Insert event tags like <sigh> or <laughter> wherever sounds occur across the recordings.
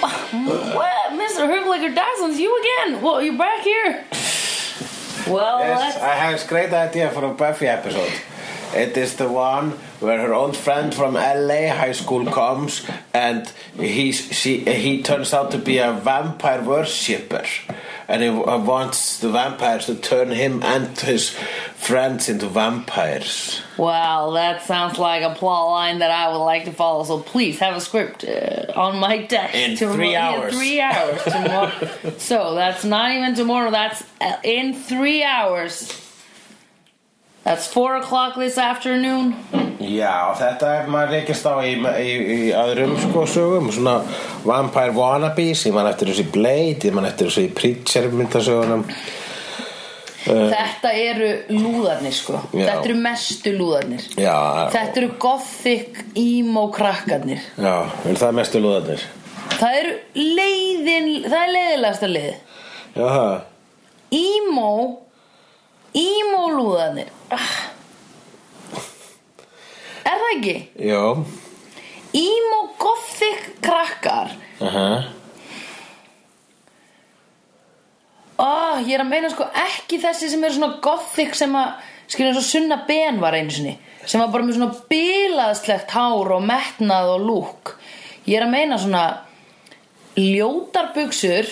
What, Mr. Herblicker Dyson's you again? Well, you're back here. Well, Oh, Yes, that's I have this great idea for a Buffy episode. It is the one where her old friend from LA high school comes and he's, she, he turns out to be a vampire worshipper. And he wa- wants the vampires to turn him and his friends into vampires. wow. That sounds like a plot line that I would like to follow. So please have a script uh, on my desk In three hours. In three hours <laughs> tomorrow. so that's not even tomorrow. That's uh, in three hours. That's four o'clock this afternoon. Já, þetta er maður reykist á í, í, í öðrum sko sögum svona Vampire Wannabes ég man eftir þessu í Blade, ég man eftir þessu í Preacher myndasögunum Þetta eru lúðarnir sko Uh, Já. Þetta eru mestu lúðarnir Já, Þetta eru gothic emo krakkarnir já, er það mestu lúðarnir? Það eru leiðin Það er leiðilegasta leið Já, það. Emo Emo lúðarnir Ah. Er það ekki? já Emo gothic krakkar uh -huh. oh, Ég er að meina sko ekki þessi sem eru svona gothic sem að skilja svo sunna ben var einu sinni sem var bara með svona bilaðslegt hár og metnað og lúk Ég er að meina svona ljótar buksur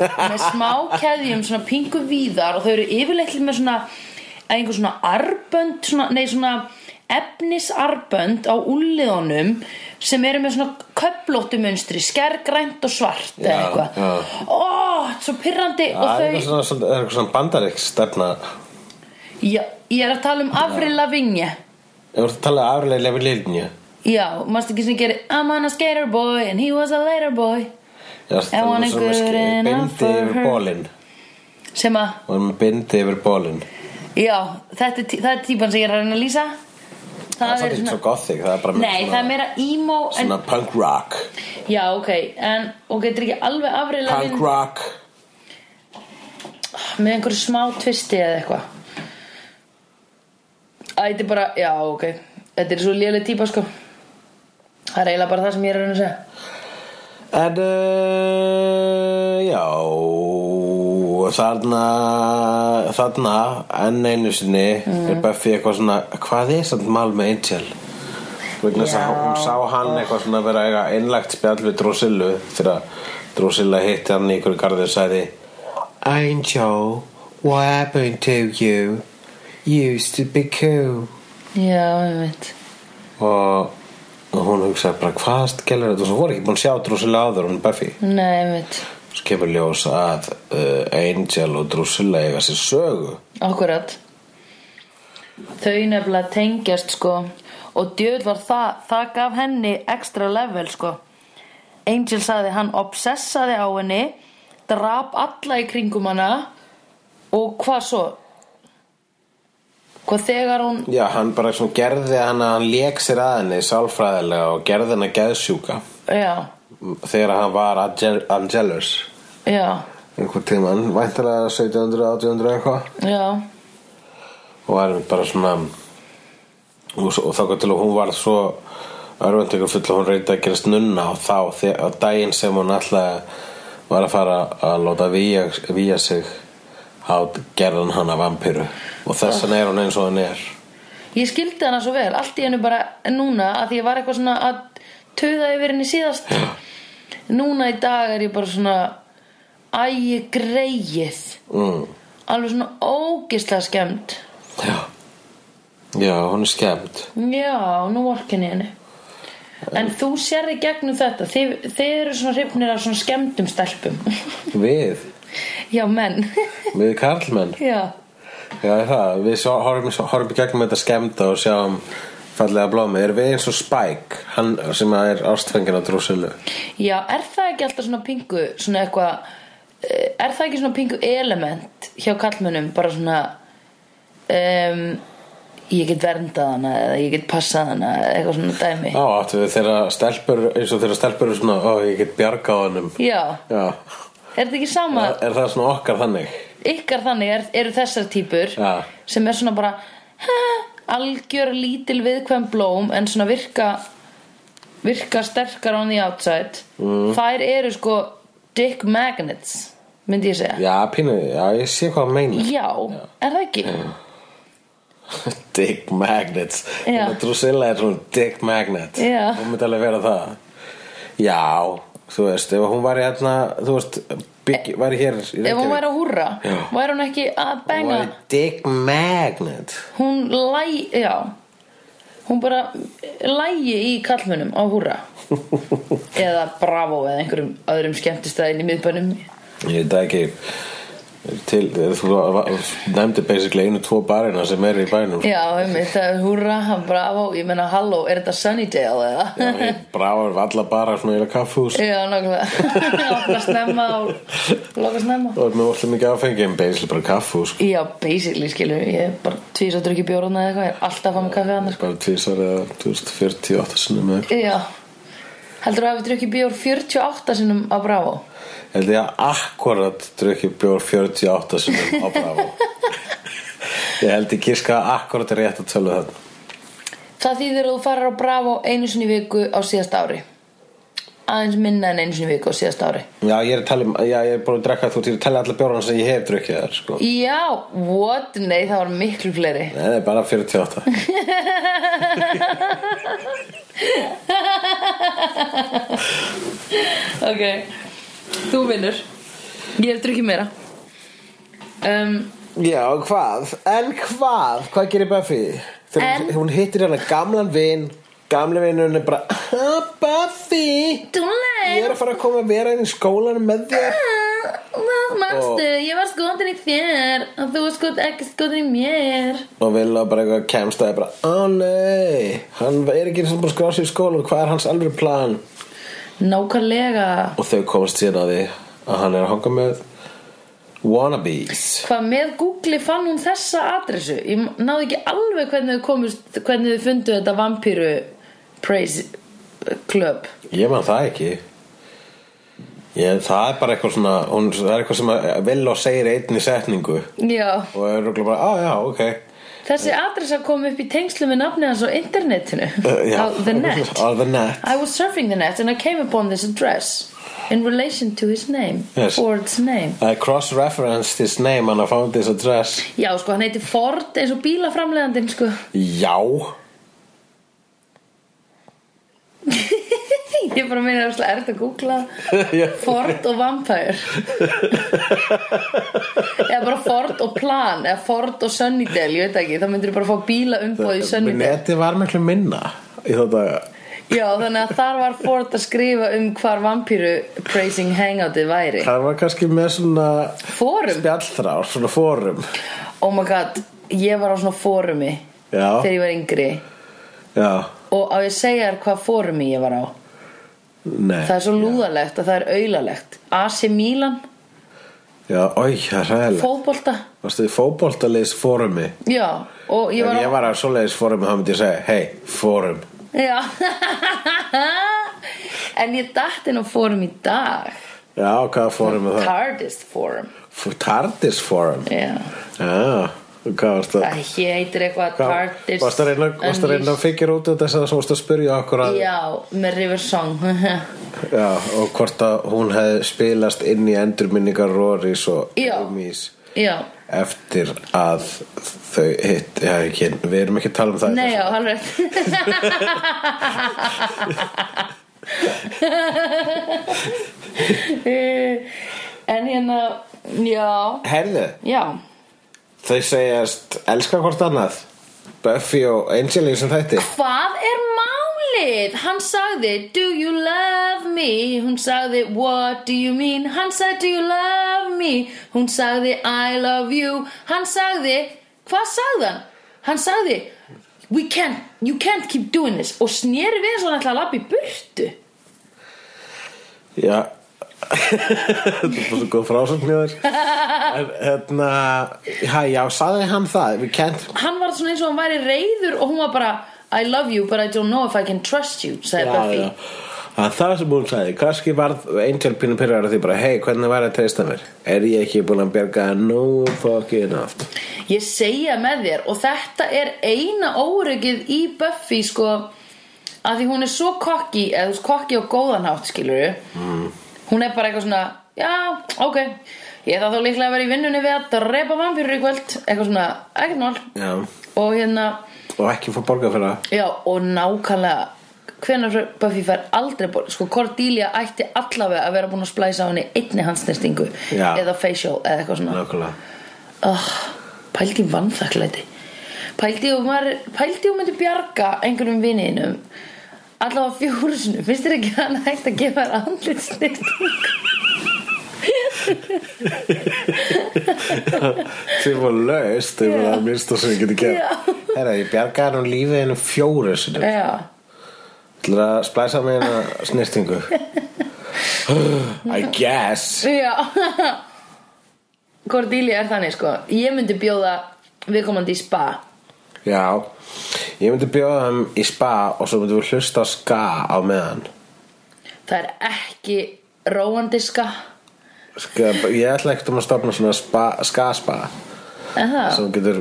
með smá keðjum svona pingu víðar og þau eru yfirleitt með svona einhver svona arbönd svona, nei svona efnisarbönd á úliðunum sem eru með svona köflóttu munstri skærgrænt og svart eða Já, eitthvað já. ó, svo pirrandi og Það er þau eitthvað svona, svona, er eitthvað svona bandarík stefna Já, ég er að tala um Avril Lavigne Ég voru að tala um aflega við Lilnju Já, mást ekki sem gerir I'm on a skater boy and he was a later boy Já, það I wanna er um svona good ske- enough bindi for yfir her. bólin sem að, og með bindi yfir bólin já, þetta er, tí- það er típan sem ég er að reyna að lýsa Það er svolítið svo gothic, það er bara meira Nei, svona, það er meira emo en, svona punk rock Já, ok, en og getur ekki alveg Avril Punk Lavigne rock með einhverju smá tvisti eða eitthvað Æ, þetta er bara, já, ok Þetta er svo léleg típa, sko Það er eiginlega bara það sem ég er að reyna að segja En uh, já þarna þarna enn einu sinni er Buffy eitthvað svona hvað er samt mál með Angel vegna þess að Já. hún sá hann eitthvað svona vera eiga innlagt spjall við Drosillu þegar Drosilla hitti hann í ykkur garðið og sagði Angel, what happened to you? You used to be cool Já, ég veit og og hún hugsaði bara hvað skellur þetta og svo voru ekki búin að sjá Drosilla áður hún Buffy Nei, ég veit Svo kemur ljós að uh, Angel og Drusilla eiga sér sögu Akkurat Þau nefnilega tengjast sko og djöð var það það gaf henni ekstra level sko Angel sagði hann obsessaði á henni drap alla í kringum hana og hvað svo hvað þegar hún Já, hann bara svona gerði hann að hann lék sér að henni sálfræðilega og gerði hann að geðsjúka já, þegar hann var Angel Angelus já, einhvern tímann, væntalega 1700, 1800 eitthvað já og var einmitt bara svona og, svo- og þá gott til að hún var svo örvendegur full að hún reyndi að gerast nunna og þá þe- á daginn sem hún alltaf var að fara að láta víja, víja sig þá gerði hann hana vampiru og þess vegna er hún eins og hann er ég skildi hana svo vel, allt í hennu bara núna að því ég var eitthvað svona að töða yfir henni síðast núna í dag er ég bara svona ægi greið mm. alveg svona ógislega skemmt já. já, hún er skemmt já, nú orkin ég henni en þú sér í gegnum þetta þið, þið eru svona hrifnir af svona skemmtum stelpum <laughs> við, já, menn <laughs> við karlmenn já, já, er það, við svo- horfum, svo- horfum í gegnum þetta skemmta og sjáum fallega blómi, erum við eins og Spike hann sem er ástfengin á drúsilu já, er það ekki alltaf svona pingu svona eitthvað eh, er það ekki svona pingu element hjá kallmönnum, bara svona um, ég get verndað hana eða ég get passað hana eða eitthvað svona dæmi Já, áttu við þeirra stelpur eins og þeirra stelpur eru svona, ó, ég get bjarga á hennum já, Já, er þetta ekki sama er, er það svona okkar þannig? ykkar þannig er, eru þessar típur Já. sem er svona bara ha, algjör lítil viðkvæm blóm en svona virka virka sterkar on the outside Mm. þær eru sko dick magnets myndi ég segja Já, pínu, já, ég sé hvað að meina er það ekki? <laughs> Dick magnets Já. Þannig að Drusilla er svona dick magnet Já. Hún myndi alveg vera það Já, þú veist, ef hún var hérna Þú veist, bygg, var hér ef hún væri að húrra Já. væri hún ekki að benga Hún var dick magnet hún læ, já hún bara lægi í kallmönum á <laughs> húra eða bravo eða einhverjum öðrum skemmtistæðin í miðbænum Ég veit það ekki til, þú nefndi basically einu tvo barina sem er í bænum já, um, þetta er húra, bravo ég menna halló, er þetta Sunnydale eða? Bráður valla bara svona eila kaffhús já, <laughs> nákvæmlega lokar snemma og lokar snemma og með alltaf mikið áfengi en basically bara sko. kaffhús já, basically skilur við, ég er bara tvís að drukja bjórna eða eitthvað, ég er alltaf að fá mig kaffi annars bara tvisar eða þú veist, 48 sinni með já, heldur þú að við drukja bjór 48 sinnum á bravo? held ég að akkurat drukki bjór 48 sinnum á <laughs> Bravo ég held ég kiska akkurat rétt að tölu þarna Það þýðir að þú farir á Bravo einu sinni í viku á síðast ári aðeins minna en einu sinni í viku á síðast ári já ég er að tala um, já ég er búin að drekka þú til að tala alla bjórna sem ég hef drukkið þar sko. Já, what? Nei, það var miklu fleiri <laughs> nei, nei, bara 48 Ok, þú vinnur Ég hef drukkið meira um, <laughs> já, hvað, en hvað hvað gerir Buffy? þegar En- hún- hún hittir hérna gamlan vin gamli vinurinn er bara "Ah, Buffy, ég Dúnlein er að fara að koma að vera inn í skólanum með þér Manstu, Ah, ég var skotin í þér og þú var skot, ekki skotin í mér og Villa bara eitthvað kemst að bara, ó nei, hann er ekki sem bara að skrá sig í skólan, hvað er hans alveg plan? Nákvæmlega Og þau komst síðan að því að hann er að hanga með wannabes. Hvað með Google fann hún þessa adressu? Ég náði ekki alveg hvernig þau komust, hvernig þau fundu þetta vampíru praise club. Ég man það ekki. Ég, það er bara eitthvað svona, hún, það er eitthvað sem að Villa segir í einni setningu Já, og er rúglega bara, á já, ok. <laughs> þessi adressa kom upp í tengslu með nafni hans á internetinu. Uh, já. Á the net. <laughs> Á the net. I was surfing the net and I came upon this address in relation to his name. Yes. Ford's name. I cross-referenced his name and I found this address. Já, sko, hann heiti Ford eins og bílaframlegandinn, sko. Já. <laughs> Ég bara meina að það er þetta að googla. Já. Ford og Vampire eða bara Ford og Plan eða Ford og Sunnydale, ég veit ekki þá myndir bara fá bíla umbóð í Sunnydale Neti var miklu minna í þá daga. já, þannig að þar var Ford að skrifa um hvar vampíru praising hangoutið væri Það var kannski með svona fórum, spjallþrár, svona fórum oh my god ég var á svona fórumi Já, þegar ég var yngri já, og á ég að segja þér hvað fórumi ég var á nei það er svo lúðalegt að það er auðalegt AC Milan, Já, oi, það er ræðilega fótbolta Varstu í fótboltaleis fórumi já, og ég Ef var á ég var að svoleiðis fórumi þá myndi ég segja Hei, fórum Já <laughs> En ég datt inn á fórum í dag Já, hvaða fórum er það? Tardist fórum F- Tardis fórum Já, Já, og hvað varstu það heitir eitthvað hvað- Tardist Varstu að reyna, varstu að reyna að fikir út þetta þess að svo varstu að spyrja okkur að Já, með River Song <laughs> Já, og hvort að hún hefði spilast inn í endurminningar Rorís og Já. Rúmís Já, eftir að þau hitt, já ekki, við erum ekki að tala um það í nei þessu. já, alveg <laughs> En eh, hérna, já Herðu, Já, þau segjast elska hvort annað Buffy og Angel í sem þætti Hvað er málið? Hann sagði, do you love me? Hún sagði, what do you mean? Hann sagði, do you love me? Hún sagði, I love you Hann sagði, hvað sagði hann? Hann sagði, we can't, you can't keep doing this Og sneri við svo hann ætla að labba í burtu Já <laughs> Þetta er bara svo góð frásögn hjá þér En hérna Já, já, saði hann það Við kent Hann var svona eins og hann væri reyður og hún var bara I love you but I don't know if I can trust you sagði Buffy Það er það sem hún sagði, kannski varð Angel pínu pyrrar að því bara Hei, hvernig var að treysta mér? Er ég ekki búin að bjarga nú fucking oft? Ég segja með þér og þetta er eina óryggið í Buffy sko að því hún er svo kokki eða þú veist kokki og góðanhátt skilur mm. hún er bara eitthvað svona já, ok, ég ætla þá líklega að vera í vinnunni við að drepa vampýrur í kvöld eitthvað svona, ekkert mál Já. og hérna, Og ekki fór borga fyrir það. já, og nákvæmlega hvenær Buffy fær aldrei bor sko Cordelia ætti allavega að vera búin að splæsa á henni einni hansnestingu Já. eða facial eða eitthvað svona Nákvæmlega. oh, pældi í vannþakklæti pældi og maður pældi og myndi bjarga einhverjum viniðinum allavega fjórusinu finnst þér ekki að hann hægt að gefa þér andlit Þið voru laust, þið voru að minnst og sem ég geti gert. Já. Herra, ég bjargaði hann lífið hennu fjóru sinni. já, Til að splæsa mig hérna hennar snirtingu. <sighs> I guess. já Cordelia er þannig sko ég myndi bjóða viðkomandi í spa Já. Ég myndi bjóða hann í spa og svo myndi við hlusta á ska á meðan. það er ekki róandi ska Ska, ég ætla ekkert um að stopna svona spa, ska-spa Aha. sem getur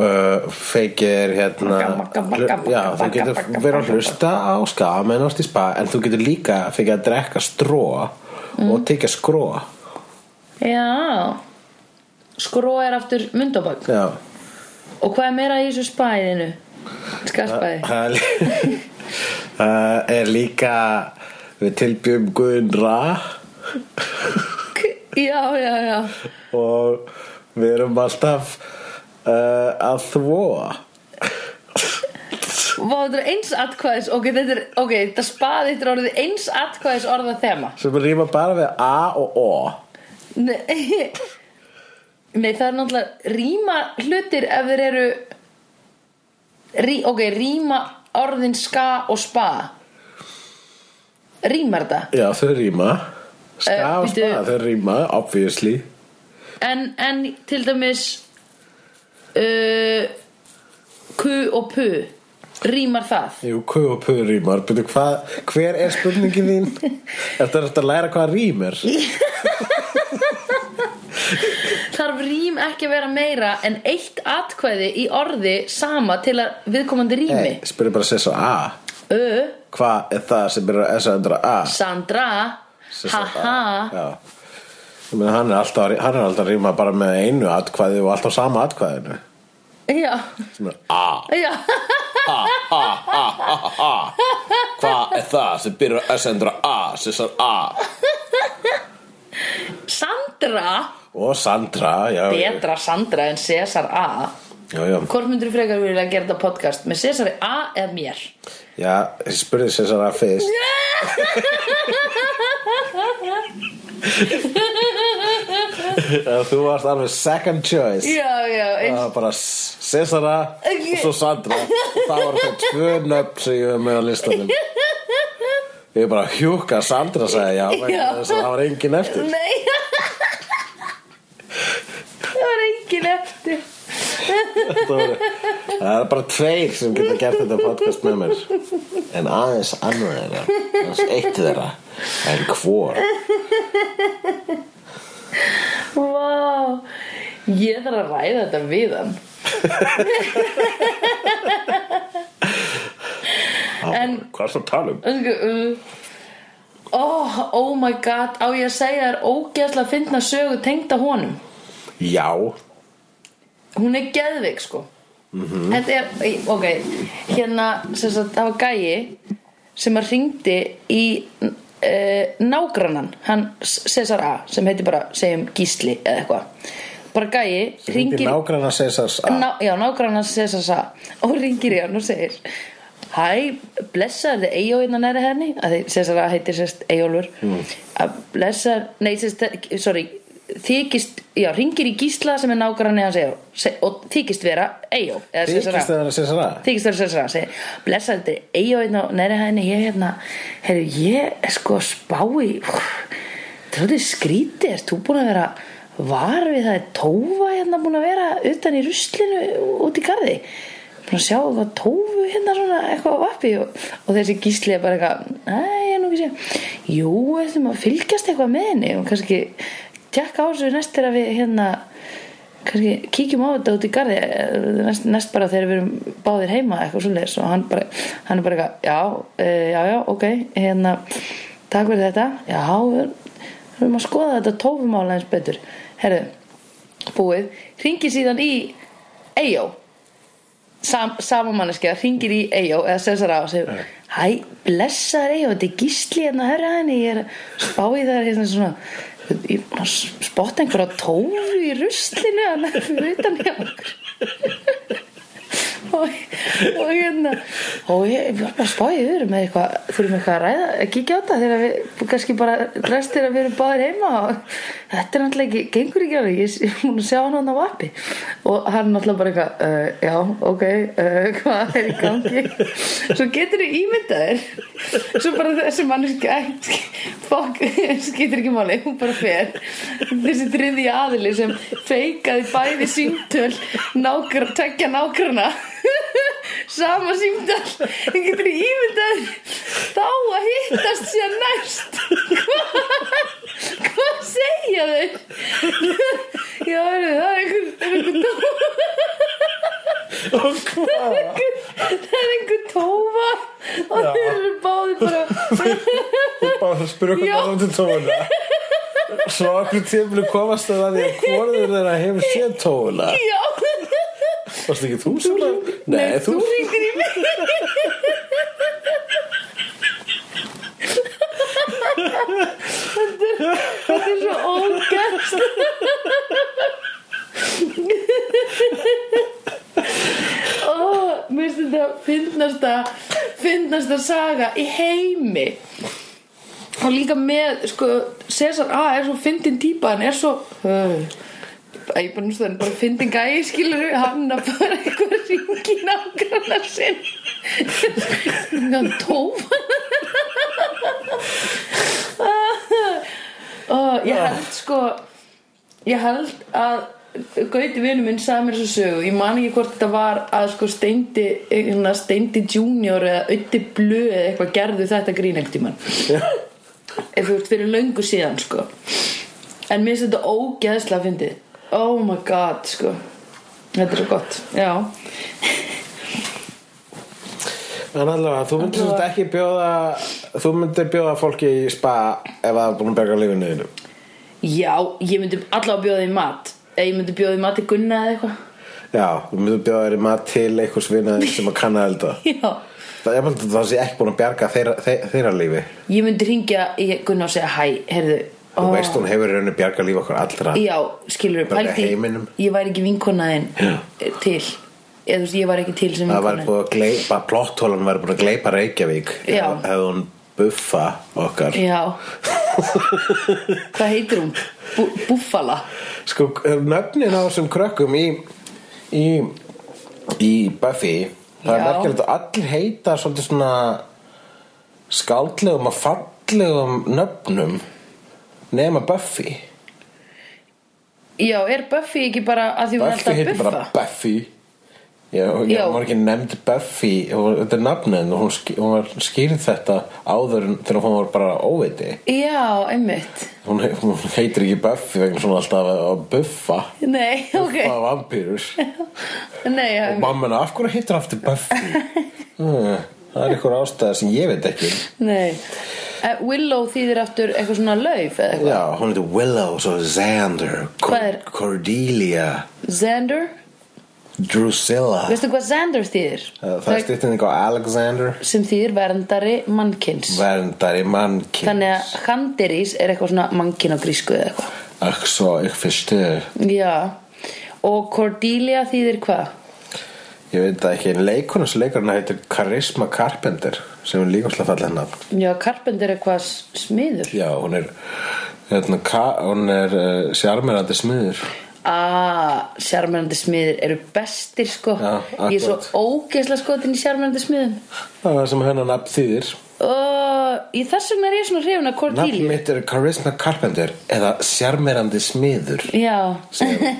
uh, feikir hérna Magga, magga, magga, magga, já, þú magga, getur magga, verið að magga. hlusta á ska meðan ást í spa en þú getur líka feikir að drekka stró og tekja skró já skró er aftur myndobak já, og hvað er meira í þessu spaðinu skarspaði það er lí- <laughs> það er líka við tilbjöfum Guðun Ra <laughs> já, já, já og við erum alltaf uh, að þvóa Vá, þetta er eins atkvæðis Ok, þetta er, ok, þetta spaði Þetta er orðið eins atkvæðis orða þema sem rýma bara við A og O Nei, <laughs> nei það er náttúrulega Rýma hlutir ef þeir eru rí, Ok, rýma orðin ska og spa Rýmar þetta Já, þau rýma Ska Eh, og bíddu. spa, þau rýma, obviously En, en til dæmis uh, Ku og pu Rýmar það Jú, hvað og puður rýmar Byrju, hvað, hver er spurningin þín? Þetta er eftir að læra hvað rým er Þarf rým ekki að vera meira en eitt atkvæði í orði sama til að viðkomandi rými Nei, spyrðu bara sér svo A Ö, Hvað er það sem byrjar að S að endra A? Sandra Sem sagt A. Haha Já Ég meina, hann er alltaf, að rí- hann er alltaf að rýma bara með einu atkvæði og alltaf sama atkvæðinu Já, sem er A já Hvað er það sem byrjar að S að endra A? Sessar A Sandra Og Sandra, já Betra Sandra en Cesar A Já, já Hvort myndur frekar vilja að gera þetta podcast með Cesari A eða mér? Já, ég spurði sér að <laughs> fyrst Ef Þú varst alveg second choice Já, já, eins <laughs> Það var bara Cesara Ok. og svo Sandra Það var það tvö nöfn sem ég var með á listanum Ég bara hjúka að Sandra sagði já vegna Já. þess að Það var engin eftir Nei Það var engin eftir Þetta voru- Það er bara tveir sem geta gert þetta podcast með mér En aðeins annar þeirra Aðeins eitt þeirra En hvor Vá Ég þarf að ræða þetta við hann En- Hvað er það að tala um? Oh, oh my god, á ég að segja þér ógeðslega að finna sögu tengda honum Já, Hún er geðvik sko Þetta er, ok, hérna, sem sagt, það var gæi sem að hringdi í uh, nágrannan, hann Cesar A, sem heiti bara, segjum, Gísli eða eitthvað Bara gæi, Hringdi hringir nágranna Cesars að Ná, já, nágrannan Cesar sa og ringir í hann og segir Hæ, blessaði Eyjó innan næri hérna henni að þið Cesar að heitir sérst Eyjólfur að blessar, nei, sérst, sorry þykist, já, ringir í Gísla sem er nágranni hans Eyjó se- og þykist vera Eyjó eða Cesar að Þykist það að Cesar <laughs> að? þykist vera Cesar að segir blessaði þetta er Eyjó innan næri henni ég hérna, heyrðu, ég er sko að spá í tróðið skrítið, ert þú búin að vera var við það er tófa hérna búin að vera utan í ruslinu út í garði búin að sjá eitthvað tófu hérna svona eitthvað á vappi og, og þessi gísli er bara eitthvað nei, ég er nú ekki sé jú, við þurfum að fylgjast eitthvað með henni og kannski tjekka á þessu næst þegar við hérna kannski kíkjum á þetta út í garði eh, næst, næst bara þegar við erum báðir heima eitthvað svoleiðis og hann, bara, hann er bara eitthvað, já, e, já, já, ok hérna, takk fyrir þetta já, við erum- við erum að skoða þetta tófumála eins betur herru, búið, ringi síðan í Eyjó Sam, sama manneskja, ringir í Eyjó eða Cesar á og segir Hæ, blessaður Eyjó, þetta er gísli hérna að hörra henni, ég er að spá í það hérna svona, ég er búin að spotta einhverja tófu í ruslinu að nefnir utan hjá okkur og, og hérna og ég var bara að spá í þurfum með eitthvað þurfum eitthvað að ræða, að kíkja á þetta þegar við kannski bara restir að við erum báðir heima og þetta er náttúrulega ekki gengur ekki á því, ég er múin að sjá hann hann á vappi og hann náttúrulega bara eitthvað uh, já, ok, uh, <laughs> hvað er í gangi svo getur þið ímyndað þér svo bara þessi manneskja fokk, skýtur ekki máli hún bara fer þessi þriði aðili sem feikaði bæði símtöl nákr, tekja nákrana sama símtöl það getur ímyndað þá að hittast sér næst hvað hvað segja þau já, heyrðu, það er einhver, það er einhver það er einhver tófa og þeir eru báði bara bara spyrja Já. hvernig það til tóuna svo okkur tímlu komast það að því að hvorður þeirra hefur séð tóuna já, varst ekki þú sem að nei, þú, þú ringir í mig þetta er, þetta er svo ógæst ó, mér finnst þetta finnasta finnasta saga í heimi og líka með sko, Cesar A er svo fyndin típa hann er svo Æ, ég bara núst það, hann er bara fyndin gæi skilur hann að bara eitthvað ringi nákvæmna sinn hann tófa og ég held sko ég held að Gauti vinur minn sagði mér þessu sögu ég man ekki hvort þetta var að sko Steindi, hérna, Steindi Junior eða Ötti Blö eða eitthvað gerðu þetta grín ekkert í mann ef þú ert fyrir löngu síðan sko en mér finnst þetta ógeðslega fyndið oh my god sko þetta er svo gott já en allavega, þú myndir Allavega. svolítið ekki bjóða þú myndir bjóða fólki í spa ef það er búin að berga lífinu þínu já ég myndi allavega bjóða því mat eða ég myndi bjóða því mat í Gunna eða eitthvað <laughs> já, þú myndir bjóða þér í mat til einhvers vinnaðin sem að kanna elda já það er bara það sé ekki búin að berga þeirra, þeirra, þeirra lífi ég myndi ringja í Gunna og segja hæ heyrðu þú veist hún hefur í rauninni bjarga líf okkur allra já skilur við Bara heiminum. ég væri ekki vinkonaðin til eða þú veist ég var ekki til sem það var vinkonaðin búin að gleipa, plotthólan var búin að gleipa Reykjavík Já. Hef- hefði hún buffa okkar já hvað heitir hún Bú, Búffala sko, nöfnin á þessum krökkum í, í, í Buffy það er Já. merkilegt að allir heita svolítið svona skáldlegum og fallegum nöfnum nema Buffy Já, er Buffy ekki bara að því hún er Buffy alltaf heitir buffa? bara Buffy Já, já, Já. hún var ekki nefnd Buffy og þetta er nafnin og hún, sk- hún var skýrð þetta áður en- þegar hún var bara óviti Já, einmitt. hún, he- hún heitir ekki Buffy vegna svona alltaf að- að buffa Nei, ok. okay. að <laughs> vampýrus Nei, já, og mamma hennar, af hverju heitir aftur Buffy <laughs> Hmm, það er einhver ástæða sem ég veit ekki nei. Eh, Willow þýðir aftur eitthvað svona lauf eða eitthvað. já, hún heitir Willow, svo Xander Hvað er- Cordelia Xander? Drusilla Veistu hvað Xander þýðir? Eh, það, það er styrtinning á Alexander sem þýðir verndari mannkins. verndari mannkins Þannig að Handiris er eitthvað svona mannkinn á grísku eða eitthvað. Ach so, ich verstehe. Já. Og Cordelia þýðir hvað? Ég veit það ekki, en leikona sem leikur hana heitir Charisma Carpenter sem er líka slag fallið hennar. Já, Carpenter er eitthvað s- smiður. Já, hún er, hérna, ka- hún er uh, sjarmerandi smiður. Ah, sjarmærandi smiðir eru bestir sko. Já, Ég er svo akkurat. ógeðslega skotin í sjarmærandi smiðum. Það er það sem hennar nafn þýðir. Og í þess vegna er ég svona hrifin að Nafn Cordelia mitt er Charisma Carpenter eða sjarmerandi smiður. Já segir hún.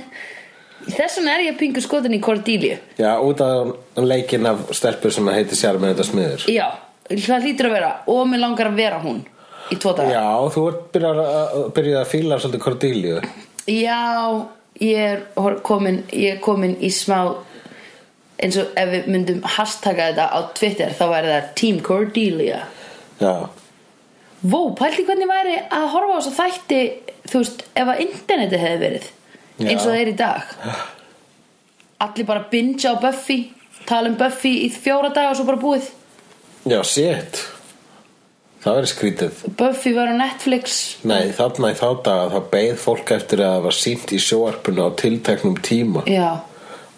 Í Þess vegna er ég pingu skotin í Cordelia <laughs> Já, út af leikin af stelpur sem heitir sjarmerandi smiður. Já, það hlýtur að vera Og mér langar að vera hún í tvo daga Já, þú ert byrjað að, byrjað að fíla svolítið Cordelia. Já, ég er hor- komin, ég er komin í smá eins og ef við myndum hashtagga þetta á Twitter þá væri það Team Cordelia Já, Vó, pældi hvernig væri að horfa á þess þætti þú veist, ef að interneti hefði verið Já. eins og það er í dag Allir bara bingja á Buffy tala um Buffy í fjóra daga og svo bara búið já, shit Það verið skrítið Buffy var á Netflix Nei, þarna í þá daga þá beið fólk eftir að það var sínt í sjóarpinu á tilteknum tíma Já,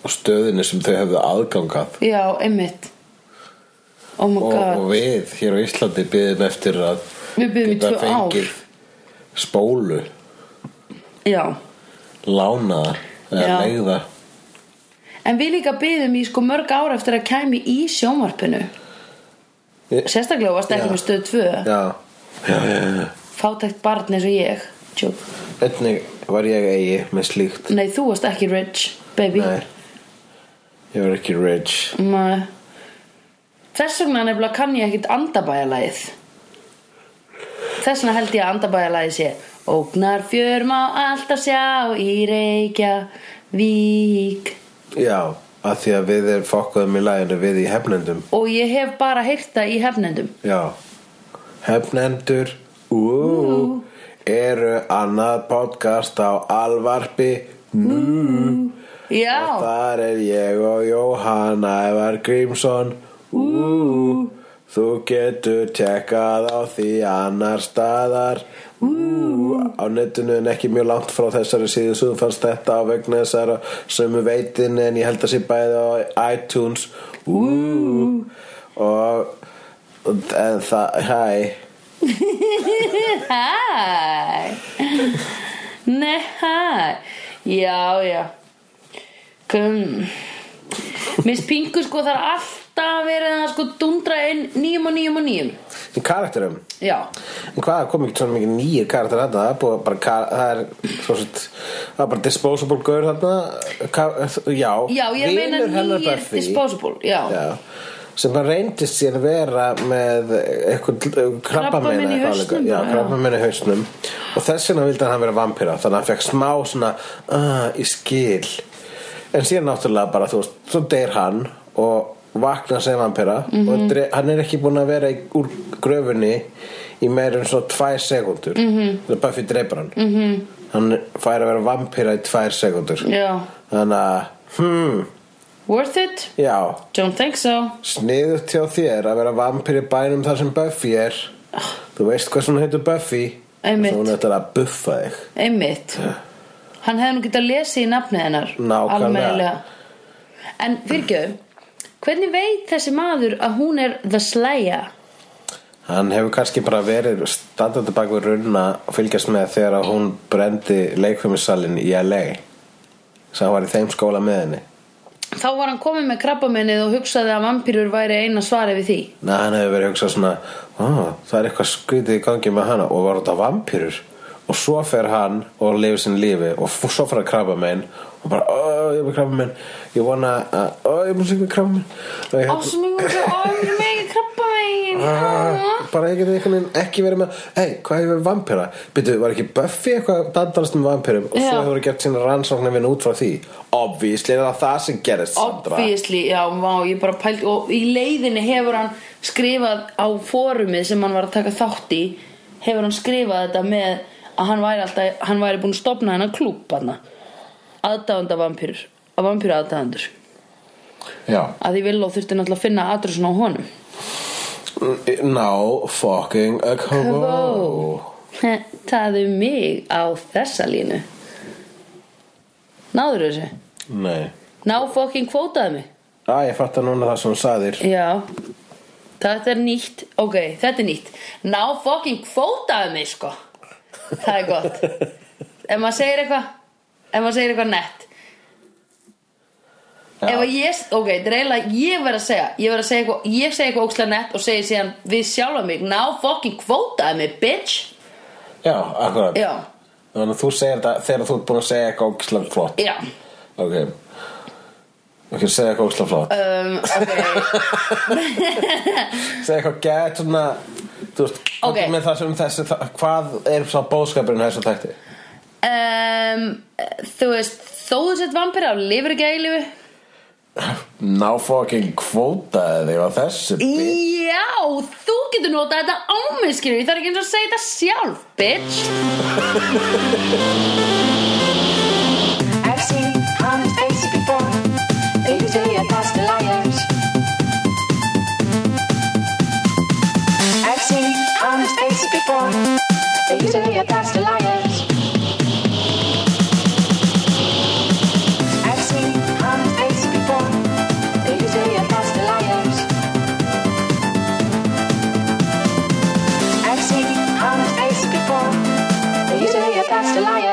og stöðinu sem þau hefðu aðgangað já, einmitt Oh my og, god og við hér á Íslandi byðum eftir að Við biðum í geta tvö ár. spólu Já, lánaða eða Já. leiða en við líka byðum í sko mörg ára eftir að kæmi í sjónvarpinu Ég- Sérstaklega varst ekki Já. með stöð 2 Já, já, já, já. Fátækt barn eins og ég Tjók. Einnig var ég eigi með slíkt Nei, þú varst ekki rich, baby Nei, ég var ekki rich Nei. Þess vegna nefnilega kann ég ekkit andabæjalæð Þess vegna held ég að andabæjalæði sé Ógnar fjör má alltaf sjá í reykja vík Já, að því að við erum fokkuðum í læginu við í hefnendum Og ég hef bara heyrt það í hefnendum Já, hefnendur ú, eru annað podcast á alvarpi nú Já, og þar er ég og Jóhann Ævar Grímsson ú, þú getur tjekkað á því annar staðar ú, á netinu en ekki mjög langt frá þessari síðu svo þú fannst þetta á vegna þessara sömu veitin en ég held að sé bæði á iTunes ú, og en það, hæ <laughs> hæ Nei, hæ Já, já Kum Miss Pingu sko það er alltaf verið að sko dundra inn nýjum og nýjum og nýjum í karakterum Já, En hvað, kom ekki svona mikið nýjir karakter þarna, það er búið að bara, ka- það er, svo sett, það er bara disposable gaur þarna, ka, já, já ég er að meina vinur hennar nýjir Buffy. disposable Já, já, sem bara reyndist sér vera með eitthvað krabbameina Krabbamein í eitthvað hausnum líka. já, bara, já. krabbameina í hausnum og þess vegna vildi hann vera vampíra þannig að hann fekk smá svona uh, í skil en síðan náttúrulega bara þú veist, svo deyr hann og vaknar sem vampíra Mhm. og dre- hann er ekki búinn að vera í, úr gröfunni í meira en svona tvær sekundur mm Mhm. -hmm. þannig að Buffy dreipur hann mm -hmm. hann fær að vera vampíra í tvær sekundur já. þannig að, hmm, Worth it? já Don't think so Sniðut hjá þér að vera vampir í bænum þar sem Buffy er Þú veist hvað svona heitur Buffy Einmitt. Svo hún ætlar að buffa þig Einmitt Hann hefði nú getað lesið í nafnið hennar Nákvæmlega. Almennilega. En fyrirgjöðu Hvernig veit þessi maður að hún er The Slayer? Hann hefur kannski bara verið standandi bak við runna og fylgjast með þegar að hún brendi leikfumissalin í LA Svo hann var í þeim skóla með henni Þá var hann komið með krabbamennið og hugsaði að vampýrur væri eina svari við því Nei, hann hefur verið að hugsa svona "Ó, Það er eitthvað skrítið í gangi með hana og var þetta vampýrur Og svo fer hann og lifir sín lífi Og f- svo fer að krabba með henn Og bara, ó, ég er með krabba með henn Ég vona að, ó, ég er með krabba með henn Ásmíð, <laughs> ó, ég er með krabbamennið "Ah, bara ég geti einhvern veginn ekki verið með hei, hvað hefur verið vampýra? Byttu, var ekki Buffy eitthvað dandarast með vampýrum og svo Já. hefur gert sína rannsóknar vinn út frá því Obvísli er það það sem gerist Sandra. Obviously, já, vá, ég bara pælt og í leiðinni hefur hann skrifað á fórumið sem hann var að taka þátt í hefur hann skrifað þetta með að hann væri alltaf, hann væri búin að stopna hennar klúb hann aðdáðanda vampýrur, að vampýru aðdáðandur Já að því vill og þurfti náttúrulega að finna adressun á honum Now fucking uh, a Kavó. kavó Taðu um mig á þessa línu Náður þessu? Nei Ná fucking kvótaðu mig Æ, ég fatt að núna það sem hún sagðir Já Þetta er nýtt, ok, þetta er nýtt Ná fucking kvótaðu mig sko Það er gott Ef maður segir eitthvað Ef maður segir eitthvað nett Já. Ef að ég, ok, þetta er eiginlega Ég verð að segja, ég verð að segja eitthvað Ég segi eitthvað ókslega nett og segi síðan Við sjálfa mig, ná fucking kvótaðu mig, bitch Já, akkurat Já, Þannig að þú segir þetta þegar þú ert búin að segja eitthvað ógislega flott já Ok Ok, segja eitthvað ógislega flott um, Ok, Segja eitthvað gett svona Þú veist, Ok. með það sem þessi það- Hvað er svona bóðskapurinn í þessu tækti? uh, um, Þú veist, þó þú sett vampira og lifir ekki að eilífu Ná fucking kvótaði þig á þessu bit Já, þú getur notað þetta ámiðskilur Ég þarf ekki eins og að segja þetta sjálf, bitch I've seen honest faces before. They usually are past the liars. I've seen honest faces before. They usually are past the liars. I've seen honest faces before. They usually are past the liars. I've seen honest faces before. They usually are past the liars.